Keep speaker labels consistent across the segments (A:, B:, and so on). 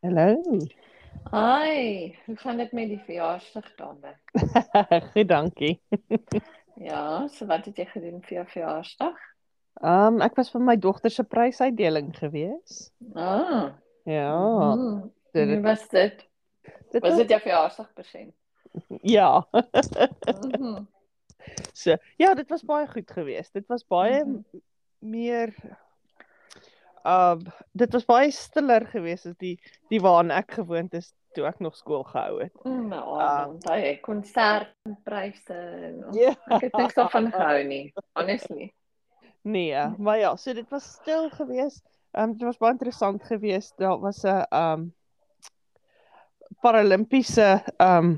A: Hallo.
B: Hi, hoe gaan dit met die verjaarsdag dan? Nick?
A: Goed, dankie.
B: Ja, so wat het jy gedoen vir jou verjaarsdag?
A: Um ek was vir my dogter se prysuitdeling gewees.
B: Ah.
A: Ja,
B: mm,
A: dit
B: Hoe
A: dit
B: was dit? Was dit jou verjaarsdag persent?
A: ja.
B: Mhm.
A: So, ja, dit was baie goed geweest. Dit was baie
B: Mhm.
A: m- meer um dit was baie stiller geweest as die die waaraan ek gewoond is toe ek nog skool gehou het.
B: Mm, maar
A: Ah.
B: dan daai konsert en pryse en oh,
A: Ja.
B: ek het niks daarvan gehou nie, honestly.
A: Nee, maar ja, so dit was stil geweest. Ehm dit was baie interessant geweest. Daar was 'n ehm Paralimpiese ehm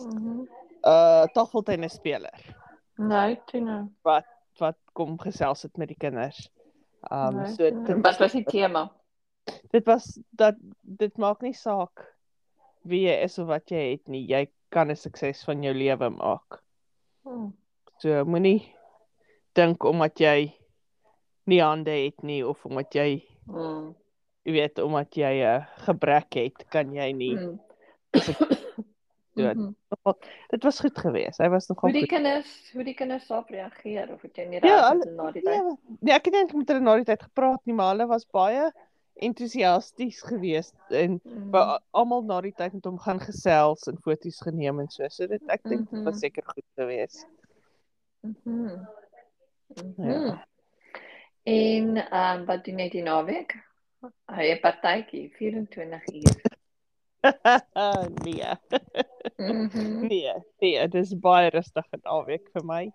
B: Mhm.
A: uh tafeltennisspeler
B: Nee, toe nou.
A: wat kom gesels het met die kinders. Ehm um,
B: Nee,
A: so
B: toe nou.
A: dit,
B: wat was die tema?
A: dit was dat dit maak nie saak wie jy is of wat jy het nie. Jy kan 'n sukses van jou lewe maak.
B: Mm.
A: Hmm. So moenie dink omdat jy nie hande het nie of omdat jy
B: Mm.
A: jy weet omdat jy 'n gebrek het, kan jy nie. Mm.
B: Mm.
A: Dood.
B: Mhm.
A: Dit was goed geweest. Hy was nogal
B: Hoe die
A: goed.
B: kinders, hoe die kinders daarop reageer of het jy nie
A: Ja,
B: reg
A: hulle-
B: het na die tyd?
A: Ja, nee, ek het nie eintlik met hulle na die tyd gepraat nie, maar hulle was baie entoesiasties geweest en
B: Mm.
A: wa- almal na die tyd met hom gaan gesels en foto's geneem en so. So dit ek dink dit
B: Mhm.
A: was seker goed geweest.
B: Mhm. Mhm.
A: Ja.
B: En ehm wat doen jy die naweek? Hy het partytjie 24 uur.
A: nee.
B: Mhm.
A: Nee, nee, dit is baie rustig en alweek vir my.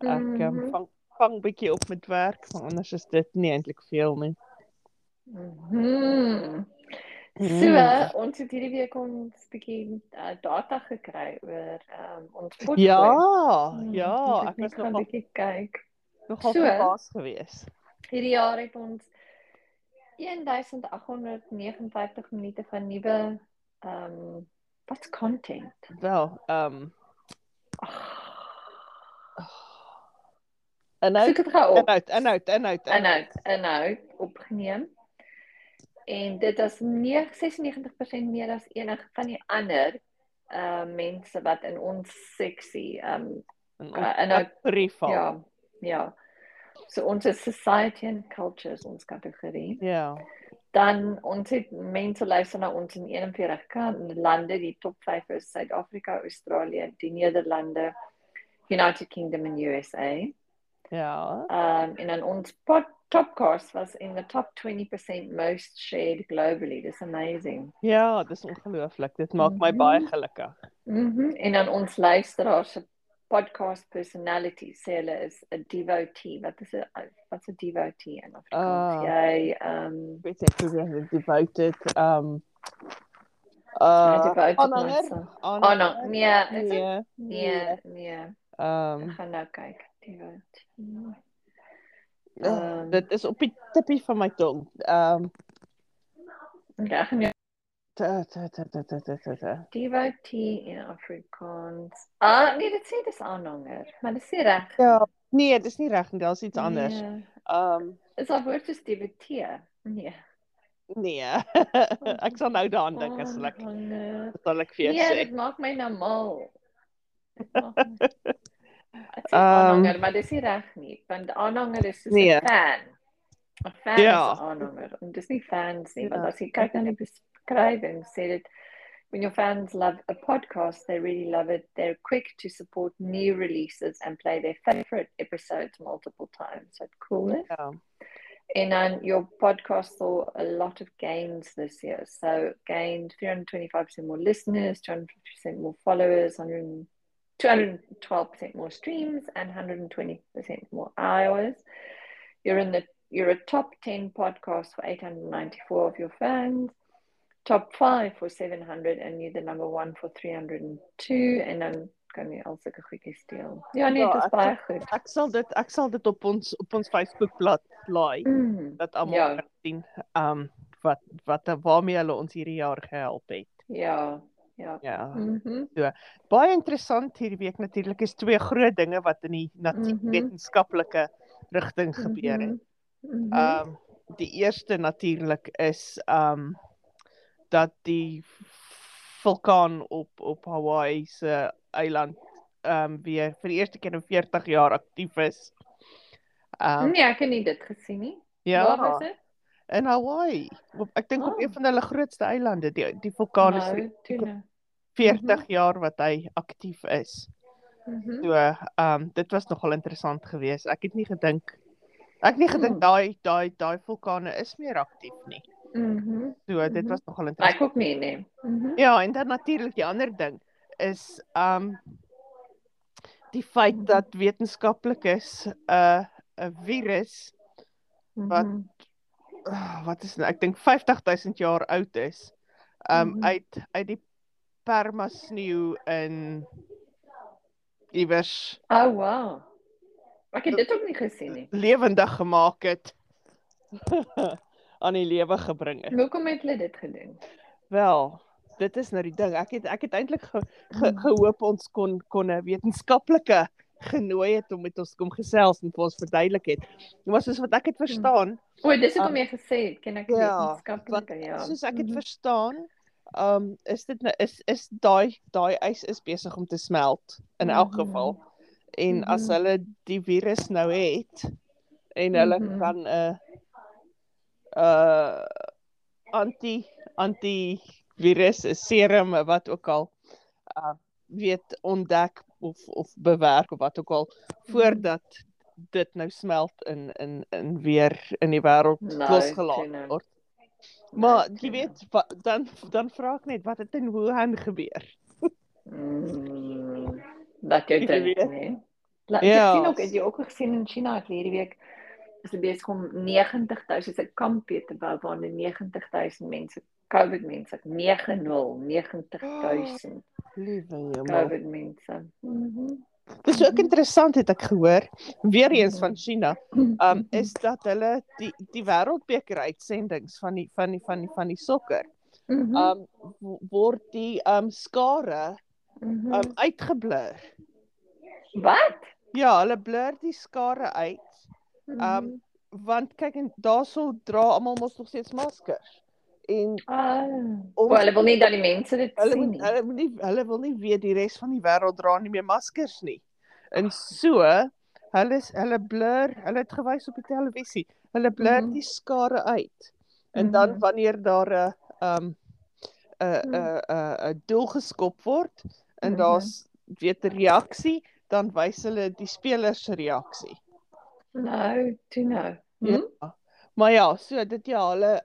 A: Ek um,
B: Mhm.
A: vang vang bietjie op met werk, maar anders is dit nie eintlik veel nie.
B: Mhm. So,
A: Mm.
B: ons het hierdie week ons bietjie uh, data gekry oor ehm ons potgoed.
A: Ja,
B: Mm,
A: ja,
B: moet
A: ek was
B: net gaan
A: nogal
B: bietjie kyk.
A: nogal
B: So.
A: verbaas geweest.
B: Hierdie jaar het ons E 1859 minute van nuwe ehm wat's content?
A: Wel, ehm um,
B: Ag,
A: inhoud,
B: Soek dit gou op.
A: inhoud, inhoud, inhoud,
B: inhoud inhoud opgeneem. En dit is ne- 96% meer as enige van die ander uh mense wat in ons seksie um
A: En
B: uh,
A: ons
B: inhoud
A: brief val. Ja.
B: ja, ja. So ons is society and culture is ons kategorie.
A: Ja.
B: Dan ons het mense luister na ons in 41 kan- lande, die top 5 is Suid-Afrika, Australië, die Nederlande, United Kingdom en USA.
A: Ja.
B: Um, en dan ons pod, podcast was in the top 20% most shared globally. Dis amazing.
A: Ja, dis ongelooflik. Dit maak my
B: Mhm.
A: baie gelukkig.
B: Mm
A: Mm-hmm.
B: -hmm. En dan ons luisteraars se podcast personality sê hulle is 'n devotee. Wat is 'n wat's 'n devotee in
A: Ah.
B: Afrikaans? Jy ehm um,
A: Ek weet ek probeer dit devoted um
B: uh,
A: uh
B: devoted
A: aanhanger?
B: myself. Oh
A: aanhanger?
B: no, nee, is dit?
A: Nee.
B: Nee, nee. Ek
A: Ehm
B: gaan nou kyk. Devotee.
A: um,
B: Ehm
A: dit is op die tippie van my tong. Ehm um,
B: ja, gaan jy
A: ta ta ta ta ta ta ta. ta.
B: devotee in Afrikaans. Ah, nee, dit sê dis aanhanger, maar dit sê reg.
A: Ja, nee, dis nie reg nie, daar's iets anders.
B: Nee.
A: Ehm um,
B: Is daar woord soos debatteer? Nee.
A: nee. ek sal nou daaraan dink as ek
B: Aanhanger.
A: sal ek vir jou
B: Nee,
A: sê.
B: dit maak my nou mal. Dit maak my- Ek sê
A: Ehm.
B: aanhanger, maar dis nie reg nie, want aanhanger is soos 'n
A: Nee.
B: fan. 'n Fan
A: Ja.
B: is 'n aanhanger. En dis nie fans nie, want
A: Ja.
B: as jy kyk na die beskrywing, sê dit when your fans love a podcast, they really love it. They're quick to support new releases and play their favorite episodes multiple times. So cool. eh?
A: Ja.
B: And then um, your podcast saw a lot of gains this year. So gained 325% more listeners, 250% more followers, 100, 212% more streams, and 120% more hours. You're in the you're a top 10 podcast for 894 of your fans, top five for 700, and you're the number one for 302. And then can you also quickly steal? Yeah, nee,
A: Ja,
B: it was
A: ek-
B: by good.
A: Ek sal dit ek sal dit op ons op ons Facebookblad laai
B: Mm,
A: dat almal
B: Ja.
A: kan sien um wat wat waarmee hulle ons hierdie jaar gehelp het.
B: yeah, Ja.
A: Ja.
B: Mhm.
A: Baie interessant hierdie week natuurlik is twee groot dinge wat in die
B: Mhm.
A: natuurwetenskaplike rigting gebeur het.
B: Mhm.
A: Ehm die eerste natuurlik is ehm dat die vulkaan op op Hawaii se eiland ehm weer vir die eerste keer in 40 jaar aktief is. Ehm
B: nee, ek het nie dit gesien nie. Waar was
A: ja,
B: dit?
A: in Hawaii. Op, ek dink op
B: Oh.
A: een van hulle grootste eilande, die die vulkaan is vir
B: Nou, Mhm. toe nou.
A: 40 jaar wat hy aktief is.
B: Mhm.
A: So, ehm um, dit was nogal interessant geweest. Ek het nie gedink ek het nie gedink
B: Hmm.
A: daai daai daai vulkane is meer aktief nie.
B: Mhm.
A: So dit
B: Mhm.
A: was nogal interessant.
B: Ek ook nie, nee. Mhm.
A: Ja, en dan natuurlik die ander ding is um die
B: Mhm.
A: feit dat wetenskaplikes 'n uh, 'n virus Wat?
B: Mhm.
A: uh, wat is dit? Ek dink 50000 jaar oud is. Um mm
B: Mhm.
A: -hmm. uit uit die permasneeu in iewers
B: Oh, wow. Ek het dit ook nie gesien nie.
A: lewendig gemaak het. aan die lewe gebring het.
B: Hoekom het hulle dit gedoen?
A: Wel, dit is nou die ding. Ek het ek het eintlik ge, ge,
B: Mm-hmm.
A: gehoop ons kon kon 'n wetenskaplike genooi het om met ons kom gesels en vir ons verduidelik het. Maar soos wat ek dit verstaan,
B: O, dis hoekom jy gesê het, ken ek
A: um, Ja,
B: wetenskaplike, ja.
A: soos ek dit
B: Mhm.
A: verstaan, ehm um, is dit nou is is daai daai ys is besig om te smelt in elk
B: Mhm.
A: geval. En as
B: Mhm.
A: hulle die virus nou het en hulle eh,
B: Mhm.
A: kan 'n uh anti anti virus 'n serum wat ook al uh weet ontdek of of bewerk of wat ook al
B: Mhm.
A: voordat dit nou smelt in in in weer in die wêreld
B: Nou,
A: losgelaat
B: Tina.
A: word. Maar
B: Nou,
A: jy
B: Tina.
A: weet wat, dan dan vra ek net wat het in Wuhan gebeur?
B: Mm, dat jy
A: Jy
B: dink,
A: weet.
B: nee. Laat
A: Ja.
B: ek sien ook, het jy ook gesien in China het hierdie week is hulle besig om 90000 'n kampie te bou waar hulle 90000 mense COVID mense, 90
A: Oh,
B: 90000
A: Liewe jemma.
B: COVID mense. Mhm.
A: Dis ook
B: Mhm.
A: interessant het ek gehoor, weer eens van
B: Mhm.
A: China, um is dat hulle die die wêreldbeker uitsendings van die van die van die van die sokker
B: Mhm,
A: um wo- word die um skare
B: mhm.
A: um uitgeblur.
B: wat?
A: Ja, hulle blur die skare uit
B: Mhm.
A: um, want kyk en daarsou dra almal mos nog steeds maskers. En
B: Mhm.
A: om-
B: oh, hulle wil nie dat die mense dit
A: hulle
B: sien
A: moet
B: nie.
A: hulle moet nie hulle wil nie weet die res van die wêreld dra nie meer maskers nie. En so hulle is hulle blur, hulle het gewys op die televisie. Hulle blur
B: Mhm.
A: die skare uit. En dan
B: Mhm.
A: wanneer daar 'n um 'n 'n 'n 'n doel geskop word en
B: Mhm.
A: daar's weet 'n reaksie, dan wys hulle die spelers se reaksie.
B: Nou, toe nou.
A: Ja.
B: Hm?
A: Maar ja, so dit ja, hulle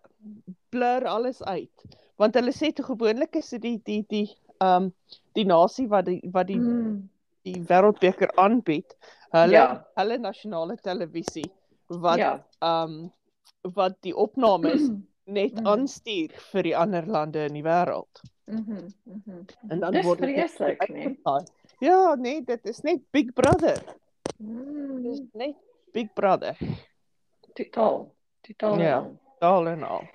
A: blur alles uit. Want hulle sê te gewoonlik is dit die die die ehm um, die nasie wat die wat die
B: Mm.
A: die wêreldbeker aanbied, hulle ja.
B: Ja.
A: hulle nasionale televisie wat ehm
B: ja.
A: um, wat die opnames net
B: Mhm.
A: aanstuur vir die ander lande in die wêreld.
B: Mhm, mhm.
A: En dan
B: Dis
A: word dit net
B: vreeslik, nee.
A: uitgesaai. Ja, nee, dit is net Big Brother. Dit is
B: Mm,
A: net Big Brother.
B: totaal, totaal.
A: Ja.
B: Ja. En al.
A: Daal en al.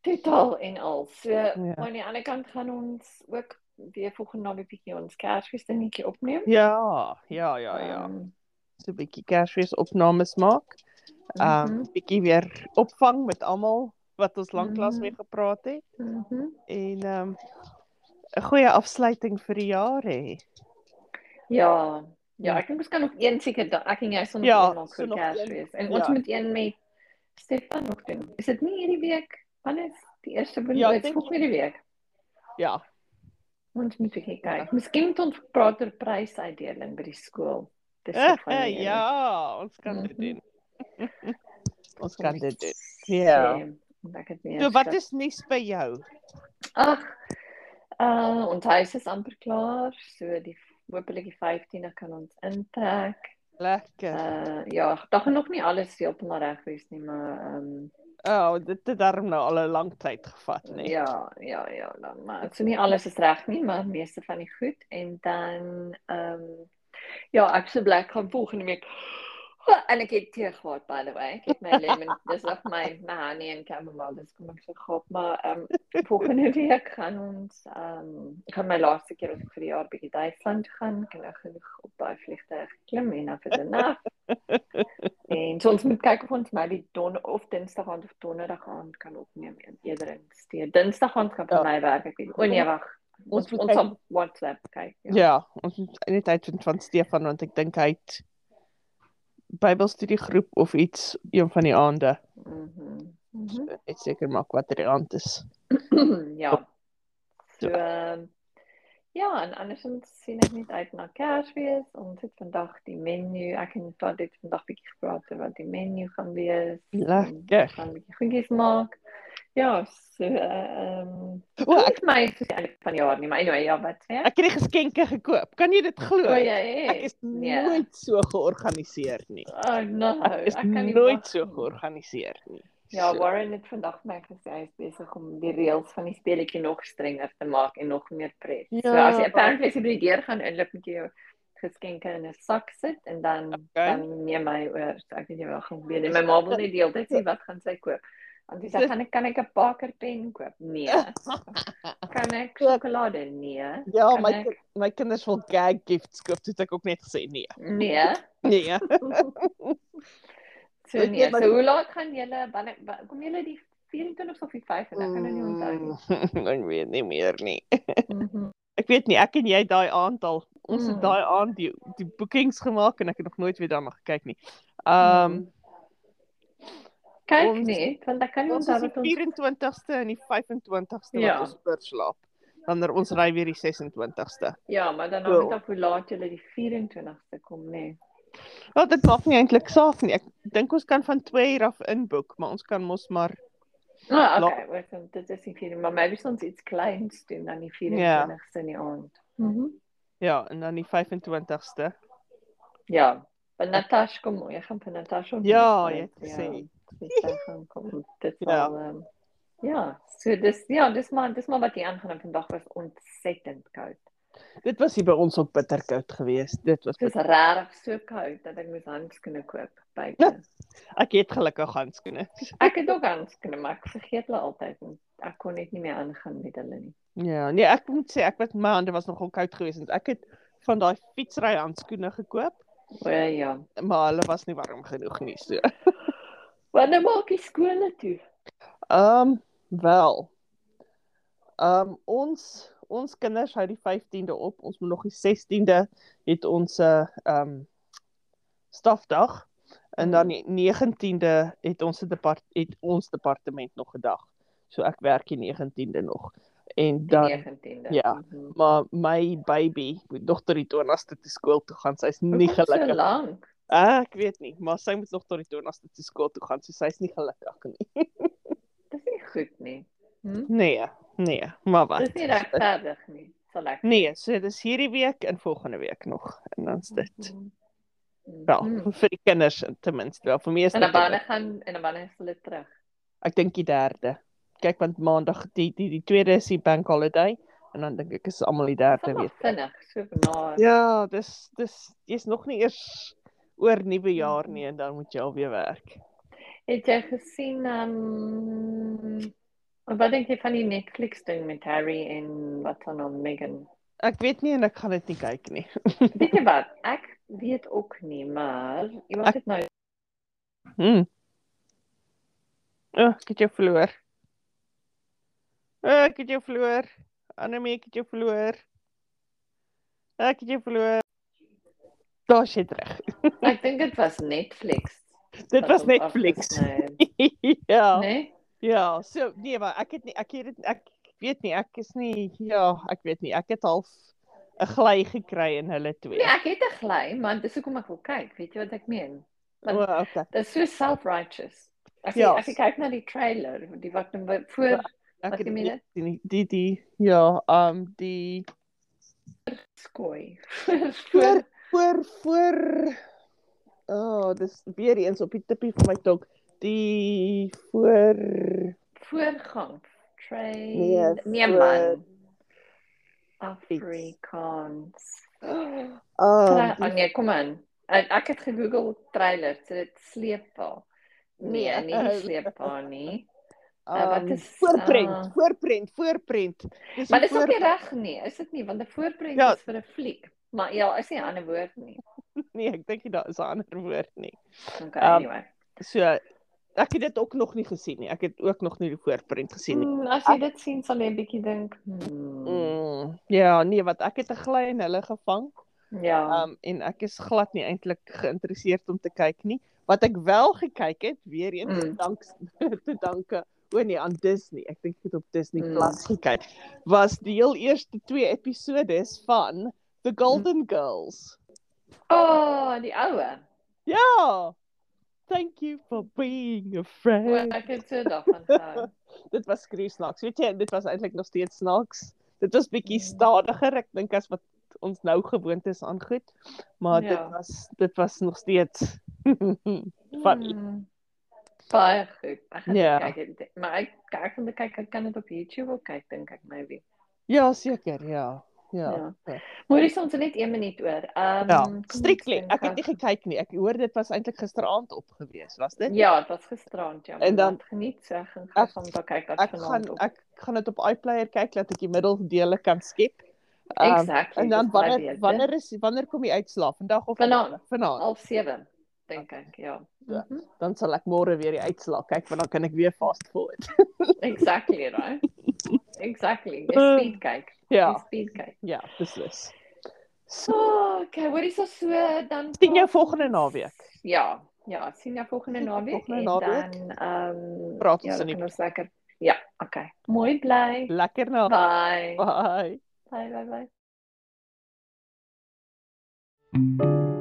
B: Totaal en al. So ja.
A: Ja.
B: aan die ander kant gaan ons ook weer volgende naweek bietjie ons Kersfeesdingetjie opneem.
A: Ja, ja, ja, ja.
B: Um,
A: So 'n bietjie Kersfees opnames maak. Ehm um,
B: mhm,
A: bietjie weer opvang met almal wat ons lanklaas
B: Mhm.
A: mee gepraat het.
B: mhm.
A: en ehm um, 'n goeie afsluiting vir die jaar hê.
B: Ja.
A: Ja.
B: Ja, ek dink ons kan nog een seker da- ek en jy son
A: Ja,
B: nog
A: so
B: vir
A: nog
B: Kersfees. En
A: ja.
B: ons moet een met Stefan nog doen. Is dit nie hierdie week? Wanneer is die eerste
A: Ja,
B: binne?
A: ek
B: Ja,
A: dink-
B: Dit volgende week.
A: Ja,
B: Ons moet bietjie kyk. Miskien moet ons praat oor prysuitdeling by die skool. Dis so
A: Eh,
B: funny,
A: ja, ons kan dit
B: Mhm.
A: doen. ons
B: Kom
A: kan
B: ons
A: dit doen.
B: Ja.
A: Ja.
B: Ek het nie.
A: So wat is nuus by jou?
B: Ag. Uh ons huis is amper klaar, so die hopelik die 15de kan ons inpak.
A: Lekker.
B: Uh ja, daar gaan nog nie alles heeltemal reg wees nie, maar ehm um,
A: O, oh, dit het darm nou al 'n lang tyd gevat, nee.
B: ja, ja, ja, dan maar so nie alles is reg nie, maar meeste van die goed en dan ehm um, ja, ek se bly ek gaan volgende week Wel, en ek het tee gehad by the way. Ek het my lemon, dis ook my my honey en chamomile, dis kom ek so gehad, maar ehm um, volgende week gaan ons ehm um, ek gaan my laaste keer op vir die jaar bietjie Duitsland toe gaan. Ek het nou genoeg op daai vliegtuig geklim en af en af. En so ons moet kyk of ons maybe don of Dinsdag aand of Donderdag aand kan opneem en eerder in steed. Dinsdag aand kan vir
A: Ja.
B: my werk, ek weet. O nee, wag.
A: Ons
B: Ons
A: moet
B: ons
A: kyk-
B: op WhatsApp kyk.
A: Ja, ons moet net uitvind van Stefan want ek dink hy het Bybelstudiegroep of iets een van die aande.
B: Mhm. Mhm.
A: Ek seker maak wat er die aand is.
B: ja. So ehm ja, en andersins sien ek net uit na Kersfees. Ons het vandag die menu, ek en Tant het vandag bietjie gepraat oor wat die menu gaan wees.
A: Lekker.
B: Ons Gaan bietjie goedjies maak. Ja, so ehm um,
A: O, ek,
B: ek my vir die einde van die jaar nie, maar anyway, ja, wat sê ek?
A: ek het die geskenke gekoop. Kan jy dit glo?
B: O Oh, ja,
A: Ek is
B: nee.
A: nooit so georganiseer nie.
B: Oh no,
A: Ek is
B: ek kan nie
A: nooit
B: wag
A: so
B: nie.
A: georganiseer nie.
B: Ja,
A: So,
B: Warren het vandag vir my gesê hy is besig om die reëls van die speletjie nog strenger te maak en nog meer pret. Ja, so
A: Ja.
B: as jy apparently as jy by die deur gaan inloop moet jy jou geskenke in 'n sak sit en dan okay. dan neem my oor. So ek weet jy wel gaan weer. My ma wil net deeltyd sê wat gaan sy koop. Want sy sê gaan ek kan ek 'n Parker pen koop? Nee. kan ek sjokolade? Nee.
A: ja,
B: Kan
A: my
B: ek-
A: ki- my kinders wil gag gifts koop, dit ek ook net gesê nee.
B: Nee.
A: Nee.
B: So
A: Weet jy,
B: nee,
A: maar-
B: so hoe laat gaan julle wanneer wa- kom julle die 24 of die 5 en ek kan nou nie onthou nie.
A: Mm, Ek weet nie meer nie.
B: Mhm.
A: Ek weet nie, ek en jy daai aand al. Ons het
B: Mm.
A: daai aand die die boekings gemaak en ek het nog nooit weer daarna gekyk nie. Ehm um,
B: Kyk
A: Ons-
B: ons, net, want ek kan nie
A: ons is
B: onthou
A: die
B: wat ons
A: 24ste en die 25ste ja.
B: Ja.
A: wat ons oorslaap. Wanneer ons ry weer die 26ste.
B: ja, maar dan
A: Wel.
B: hang dit af hoe laat jy die 24ste kom nê. Nee.
A: Wel dit maak nie eintlik saak nie. Ek dink ons kan van 2 uur af inboek, maar ons kan mos maar
B: Ah,
A: La-
B: okay, wait, dan dit is die 24, maar maybe ons iets kleins doen dan die 24ste in die aand. Mhm.
A: ja, en dan die 25ste.
B: Ja. Maar Natasha kom, jy gaan vir Natasha. ontmoet,
A: Ja,
B: want,
A: jy het gesê.
B: Ja, sy sê gaan kom. Dit
A: Ja.
B: sal ja. Um, ja, so dis ja, dis maar dis maar wat hier aangaan en vandag was ontsettend koud.
A: Dit was hier by ons ook bitterkoud geweest. Dit was
B: Dit was regtig so koud dat ek moes handskoene koop buite.
A: ek het gelukkig handskoene.
B: Ek het ook handskoene, maar ek vergeet hulle altyd en ek kon net nie meer aangaan met hulle nie.
A: Ja, nee, ek moet sê ek was my hande was nogal koud geweest want ek het van daai fietsry handskoene gekoop,
B: O ja.
A: maar hulle was nie warm genoeg nie. So.
B: Wanneer nou maak jy skole toe?
A: Ehm um, wel. Ehm um, ons ons kinders hou die 15de op. Ons moet nog die 16de het ons 'n ehm um, stafdag en dan die 19de het ons 'n depart het ons departement nog 'n dag. So ek werk die 19de nog. En
B: Die
A: dan
B: 19de.
A: ja,
B: Mhm.
A: maar my baby moet nog tot die 20ste te skool toe gaan. Sy's nie
B: Hoekom So
A: gelukkig.
B: lank.
A: Ah, ek weet nie, maar sy moet nog tot die 20ste te skool toe gaan, so sy's nie gelukkig nie.
B: Dis nie goed nie. Hm?
A: Nee, nee, maar wat?
B: Dis nie regverdig nie. Sal ek.
A: Nee, so dis hierdie week en volgende week nog en dan's dit.
B: Mhm.
A: Wel,
B: Mhm.
A: vir die kinders ten minste, wel vir my is
B: En dan
A: dit
B: wanneer gaan en dan wanneer is hulle terug?
A: ek dink die derde. Kyk want maandag die die die tweede is die bank holiday en dan dink ek is almal die derde
B: Dis nog
A: week.
B: vinnig, so na.
A: Ja, dis dis jy's nog nie eers oor nuwe jaar
B: Mm.
A: nie en dan moet jy alweer werk.
B: Het jy gesien ehm um, wat dink jy van die Netflix ding met Harry en wat dan al Meghan?
A: Ek weet nie en ek gaan dit nie kyk nie.
B: Weet jy wat? Ek weet ook nie, maar iemand het nou
A: Hm. O, oh, ek het jou verloor. O, oh, ek het jou verloor. Annelie, ek het jou verloor. Ek het jou verloor. Daar sit reg.
B: Ek dink dit was Netflix.
A: Dit
B: wat
A: was
B: ons
A: Netflix.
B: afgesny het,
A: ja.
B: Né?
A: Ja, so nee, maar ek het nie ek het dit ek weet nie, ek is nie ja, ek weet nie. Ek het half 'n gly gekry in hulle twee.
B: Nee, ek het 'n gly, maar dis hoekom ek wil kyk, weet jy wat ek meen?
A: O,
B: want-
A: okay.
B: Dit is so self-righteous. As jy
A: Ja.
B: as jy kyk na die trailer, die wat nou by- voor
A: Ek
B: Wat
A: het
B: jy
A: nie
B: meen?
A: gesien nie. die die ja, ehm um, die
B: skooi.
A: Voor- voor
B: voor
A: voor oh, dis weer eens op die tippie van my tong. Die voor
B: voorgang. Train.
A: Nee,
B: Nee, nee
A: voor-
B: man. Afrikaans.
A: oh, ah,
B: Tra- Oh Ehm, nee, kom aan. En ek het gegoogel trailer, so dit sleep al. Nee,
A: Nee.
B: nie sleep haar nie. Eh, wat
A: Um,
B: is,
A: voorprent,
B: ah.
A: voorprent, voorprent. Dis
B: Maar
A: die
B: dis ook nie
A: voorprent.
B: reg nie, is dit nie, want 'n voorprent
A: Ja.
B: is vir 'n fliek. Maar ja, is nie 'n ander woord nie.
A: Nee, ek dink nie daar is 'n ander woord nie.
B: Okay,
A: Um,
B: anyway.
A: So ek het dit ook nog nie gesien nie. Ek het ook nog nie die voorprent gesien nie.
B: Mm, as jy dit sien sal jy 'n bietjie dink. Mm,
A: Mm, ja, nee, want ek het 'n gly in hulle gevang.
B: ja.
A: Um en ek is glad nie eintlik geïnteresseerd om te kyk nie. Wat ek wel gekyk het, weer eens
B: Mm.
A: mm. dank te danke o nee aan Disney. Ek dink ek het op Disney
B: Mm.
A: mm. Plus gekyk. Was die heel eerste twee episodes van The Golden mm. Girls.
B: O, oh, die oue.
A: Ja. Thank you for being a
B: O,
A: friend.
B: ek het so daarvan gehou.
A: Dit was skreeusnaaks. Weet jy, en dit was eintlik nog steeds snaaks. Dit was bietjie
B: Mm.
A: stadiger, ek dink as wat ons nou gewoond is aan goed, maar ja.
B: Ja.
A: dit was dit was nog steeds Funny.
B: Mm, baie goed. Ek gaan
A: Ja.
B: yeah. kyk, ek dink- maar ek kyk om te kyk, ek kan dit op YouTube ook kyk dink ek maybe.
A: Ja, seker, ja. Ja.
B: Ja. Moenie soms net 1 minuut oor. Ehm
A: Ja,
B: kom ons
A: strictly.
B: dink
A: Ek het nie
B: af.
A: gekyk nie. Ek hoor dit was eintlik gisteraand op gewees, was dit?
B: Ja, dit was gisterand ja.
A: En
B: En
A: dan-
B: dan geniet se gaan
A: Ek-
B: gaan om te kyk wat
A: Ek gaan
B: vanaand Ja, op.
A: ek gaan dit op iPlayer kyk dat ek die middeldele kan skep. Um,
B: Exactly.
A: en dan wanneer wanneer is wanneer kom die uitslaaf? Vandag of
B: Vanaand.
A: Vanaand.
B: half 7 dink ek, ja.
A: Ja.
B: Mhm.
A: Dan sal ek môre weer die uitslaaf kyk want dan kan ek weer fast forward.
B: Exactly, right? Exactly. Jy speed kyk. Jy
A: Eh, ja,
B: speed kyk.
A: ja, beslis. So,
B: So, okay, wat is ons so dan
A: sien jou
B: praat
A: volgende
B: ons-
A: naweek.
B: Ja, ja, sien jou volgende
A: Sien jou
B: naweek
A: volgende
B: en
A: naweek.
B: dan ehm
A: Praat
B: ja,
A: ons in
B: dan
A: die-
B: kan ons lekker. Ja, okay. Mooi bly.
A: Lekker naweek.
B: Bye.
A: Bye.
B: Bye bye bye.